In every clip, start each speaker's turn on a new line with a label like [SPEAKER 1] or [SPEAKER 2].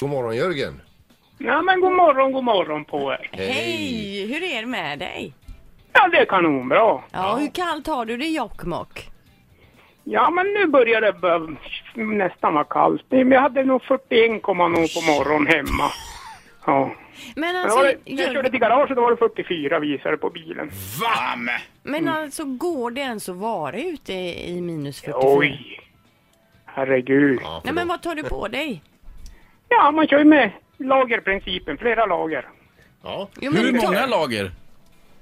[SPEAKER 1] God morgon Jörgen.
[SPEAKER 2] Ja, men god morgon, god morgon på er.
[SPEAKER 1] Hej.
[SPEAKER 3] Hej! Hur är det med dig?
[SPEAKER 2] Ja, det är kanonbra.
[SPEAKER 3] Ja, Hur kallt har du det i Jokkmokk?
[SPEAKER 2] Ja, men nu börjar det bör- nästan vara kallt. Men Jag hade nog 41,0 på morgonen hemma. Ja.
[SPEAKER 3] Men
[SPEAKER 2] Men det var
[SPEAKER 3] alltså,
[SPEAKER 2] det, jag körde
[SPEAKER 3] Jörgen,
[SPEAKER 2] till garaget då var det 44 visade på bilen.
[SPEAKER 4] Va? Men,
[SPEAKER 3] men
[SPEAKER 2] Mm.
[SPEAKER 3] alltså går det ens att vara ute i minus 44?
[SPEAKER 2] Oj! Herregud.
[SPEAKER 1] Ja,
[SPEAKER 3] Nej men vad tar du på dig?
[SPEAKER 2] Ja, man kör ju med lagerprincipen, flera lager.
[SPEAKER 1] ja.
[SPEAKER 3] Jo,
[SPEAKER 4] Hur
[SPEAKER 3] men, ta-
[SPEAKER 4] många lager?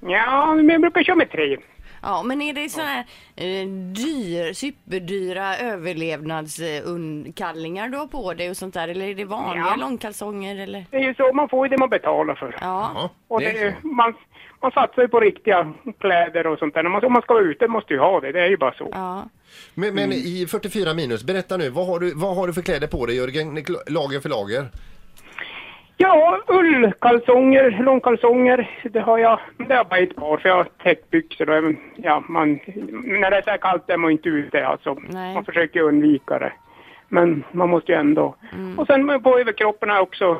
[SPEAKER 2] Ja, men jag brukar köra med tre.
[SPEAKER 3] ja, men är det såna här eh, dyr, superdyra överlevnadsunkallingar du har på dig och sånt där? Eller är det vanliga
[SPEAKER 2] Ja.
[SPEAKER 3] långkalsonger eller?
[SPEAKER 2] Det är ju så, man får ju det man betalar för.
[SPEAKER 3] Ja.
[SPEAKER 1] ja.
[SPEAKER 2] Och
[SPEAKER 4] det
[SPEAKER 2] det,
[SPEAKER 4] är
[SPEAKER 2] är- man, man satsar ju på riktiga kläder och sånt där. Om man, om man ska vara ute måste ju ha det, det är ju bara så.
[SPEAKER 3] ja.
[SPEAKER 1] Men,
[SPEAKER 3] Mm.
[SPEAKER 1] men i 44 minus, berätta nu, vad har, du, vad har du för kläder på dig Jörgen? Kl- Lager för lager?
[SPEAKER 2] Ja, ullkalsonger, långkalsonger, det har jag. men Det har jag bara ett par för jag har täckbyxor och även, ja, man, när det är så här kallt är man ju inte ute alltså.
[SPEAKER 3] Nej.
[SPEAKER 2] Man försöker ju undvika det. Men man måste ju ändå.
[SPEAKER 3] Mm.
[SPEAKER 2] Och sen på överkroppen har jag också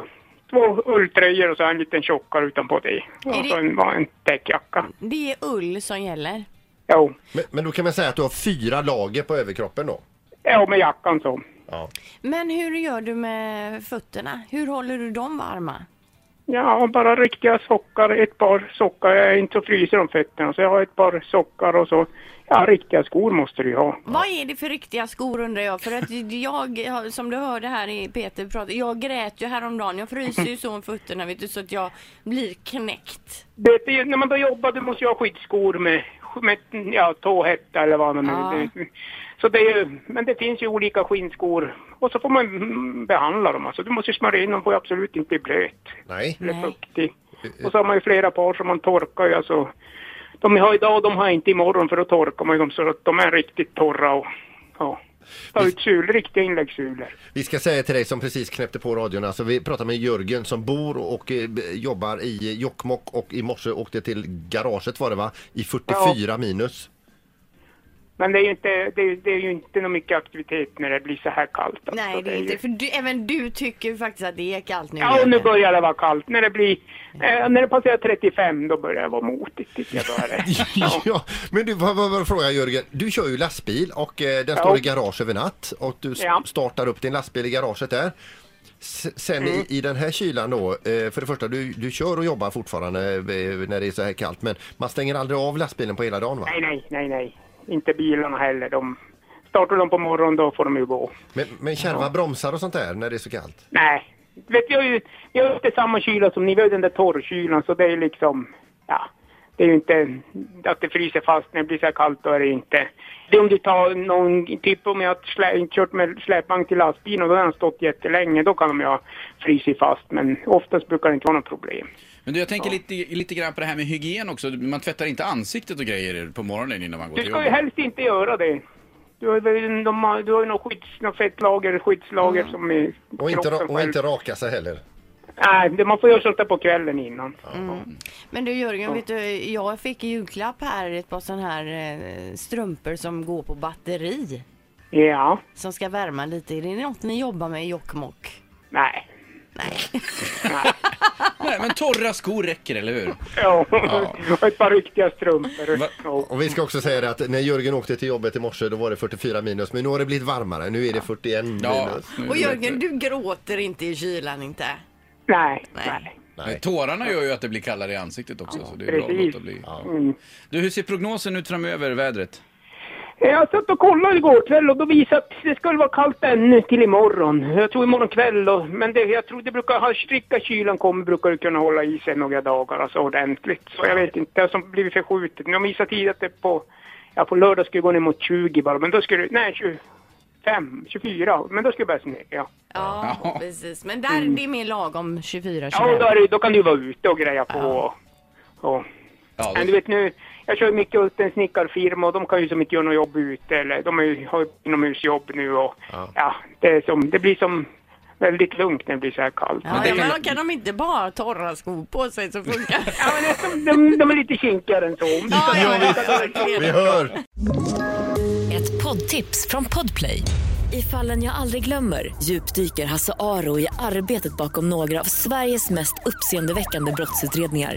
[SPEAKER 2] två ulltröjor och så en liten tjockare utanpå det.
[SPEAKER 3] Är
[SPEAKER 2] Och
[SPEAKER 3] det-
[SPEAKER 2] så en, en täckjacka.
[SPEAKER 3] Det är ull som gäller.
[SPEAKER 2] Jo,
[SPEAKER 1] Men, men då kan man säga att du har fyra lager på överkroppen då?
[SPEAKER 2] ja, med jackan så.
[SPEAKER 1] Ja.
[SPEAKER 3] Men hur gör du med fötterna? Hur håller du dem varma?
[SPEAKER 2] Ja, bara riktiga sockar, ett par sockar. Jag är inte så fryser om fötterna så jag har ett par sockar och så, ja riktiga skor måste du ju ha.
[SPEAKER 3] Vad är det för riktiga skor undrar jag? För att jag, har- som du hörde här i Peter prata, jag grät ju häromdagen. Jag fryser ju så om fötterna vet du, så att jag blir knäckt.
[SPEAKER 2] Det, det, när man börjar jobba då måste jag ha skyddsskor med, med ja, tåhätta eller vad man nu...
[SPEAKER 3] Ja.
[SPEAKER 2] Så det är ju, men det finns ju olika skinnskor. Och så får man mm, behandla dem alltså. Du måste ju smörja in dem, får ju absolut inte bli blöt
[SPEAKER 1] Nej.
[SPEAKER 2] eller
[SPEAKER 3] Nej.
[SPEAKER 2] fuktig. Och så har man ju flera par som man torkar ju alltså. De jag har idag, de har jag inte imorgon för då torkar man ju dem så att de är riktigt torra och ja. Ta ut sulor, riktiga inläggssulor.
[SPEAKER 1] Vi ska säga till dig som precis knäppte på radion, alltså vi pratar med Jörgen som bor och eh, b- jobbar i Jokkmokk och i morse åkte till garaget var det va? I 44 minus.
[SPEAKER 2] Men det är ju inte, det är, det är ju inte någon mycket aktivitet när det blir så här kallt. alltså.
[SPEAKER 3] Nej det är
[SPEAKER 2] ju-
[SPEAKER 3] inte, för du, även du tycker ju faktiskt att det är kallt nu.
[SPEAKER 2] Ja, och
[SPEAKER 3] Jörgen.
[SPEAKER 2] nu börjar det vara kallt. När det blir, eh, när det passerar 35 då börjar det vara motigt tycker jag. Då är det. Ja.
[SPEAKER 1] ja, men du, vad, vad, vad frågar Jörgen? Du kör ju lastbil och eh, den
[SPEAKER 2] Ja.
[SPEAKER 1] står i garage över natt och du s-
[SPEAKER 2] Ja.
[SPEAKER 1] startar upp din lastbil i garaget där. S- Sen
[SPEAKER 2] Mm.
[SPEAKER 1] i, i den här kylan då, eh, för det första du, du kör och jobbar fortfarande eh, när det är så här kallt men man stänger aldrig av lastbilen på hela dagen va?
[SPEAKER 2] Nej, nej, nej, nej. Inte bilarna heller. De, startar de på morgonen då får de ju gå.
[SPEAKER 1] Men, men kärva bromsar och sånt där när det är så kallt?
[SPEAKER 2] Nej. Vet jag ju, jag har inte samma kyla som ni. Vi har ju den där torrkylan så det är liksom, ja. Det är ju inte att det fryser fast när det blir så här kallt, då är det ju inte. Det är om du tar någon, typ om jag har slä, kört med släpvagn till lastbilen och då har den stått jättelänge, då kan de ju ha frysit fast. Men oftast brukar det inte vara något problem.
[SPEAKER 4] Men du, jag tänker lite, lite grann på det här med hygien också. Man tvättar inte ansiktet och grejer på morgonen innan man går
[SPEAKER 2] Du
[SPEAKER 4] till
[SPEAKER 2] ska ju
[SPEAKER 4] jobbet.
[SPEAKER 2] helst inte göra det. Du har väl de, har- du har ju något skydds, något fettlager, skyddslager som är
[SPEAKER 1] Och inte, ra-
[SPEAKER 2] kroppen
[SPEAKER 1] och
[SPEAKER 2] själv.
[SPEAKER 1] inte raka sig heller.
[SPEAKER 2] Nej, det- man får göra sånt där på kvällen innan.
[SPEAKER 3] Men du Jörgen, vet du, jag fick i julklapp här ett par sådana här eh, strumpor som går på batteri.
[SPEAKER 2] Ja,
[SPEAKER 3] Som ska värma lite. Är det något ni jobbar med i Jokkmokk?
[SPEAKER 2] nej.
[SPEAKER 3] Nej.
[SPEAKER 4] Nej, men torra skor räcker, eller hur?
[SPEAKER 2] Ja, och ett par riktiga strumpor.
[SPEAKER 4] Va-
[SPEAKER 2] Ja.
[SPEAKER 1] Och vi ska också säga det att när Jörgen åkte till jobbet i morse då var det 44 minus men nu har det blivit varmare. Nu är det 41 minus.
[SPEAKER 3] Och Jörgen, du gråter inte i kylan inte?
[SPEAKER 2] Nej,
[SPEAKER 3] Nej.
[SPEAKER 2] nej.
[SPEAKER 4] Nej. Tårarna gör ju att det blir kallare i ansiktet också, så det är bra att
[SPEAKER 2] precis.
[SPEAKER 4] låta bli. Ja.
[SPEAKER 2] Mm.
[SPEAKER 4] Du, hur ser prognosen ut framöver, vädret?
[SPEAKER 2] Eh, Jag satt och kollade igår kväll och då visade att det skulle vara kallt ännu till imorgon. Jag tror imorgon kväll och, men det, jag tror det brukar, har stricka kylan kommer brukar det kunna hålla i sig några dagar alltså ordentligt. Så jag vet inte, det har som blivit förskjutet. De visade tidigt att det på, ja på lördag skulle gå ner mot 20 bara, men då skulle det, nej 25, 24, men då skulle det börja snöa.
[SPEAKER 3] Ja,
[SPEAKER 4] Ja.
[SPEAKER 3] precis. Men där, det är mer lagom 24
[SPEAKER 2] Ja, och då, är det, då kan du vara ute och greja på och, och
[SPEAKER 4] Ja,
[SPEAKER 2] Men du vet nu, jag kör ju mycket åt en snickarfirma och de kan ju som inte göra något jobb ute eller de är, ju- har ju inomhusjobb nu och
[SPEAKER 1] Ja.
[SPEAKER 2] ja, det, är som, det blir som väldigt lugnt när det blir så här kallt.
[SPEAKER 3] Ja,
[SPEAKER 4] det
[SPEAKER 3] ja,
[SPEAKER 4] kan-
[SPEAKER 3] men kan de inte bara ha torra skor på sig så funkar det.
[SPEAKER 2] Ja, men det är som- de, de är lite kinkigare än så.
[SPEAKER 3] Ja, ja,
[SPEAKER 1] Vi hör!
[SPEAKER 5] Ett poddtips från Podplay. I fallen jag aldrig glömmer djupdyker Hasse Aro i arbetet bakom några av Sveriges mest uppseendeväckande brottsutredningar.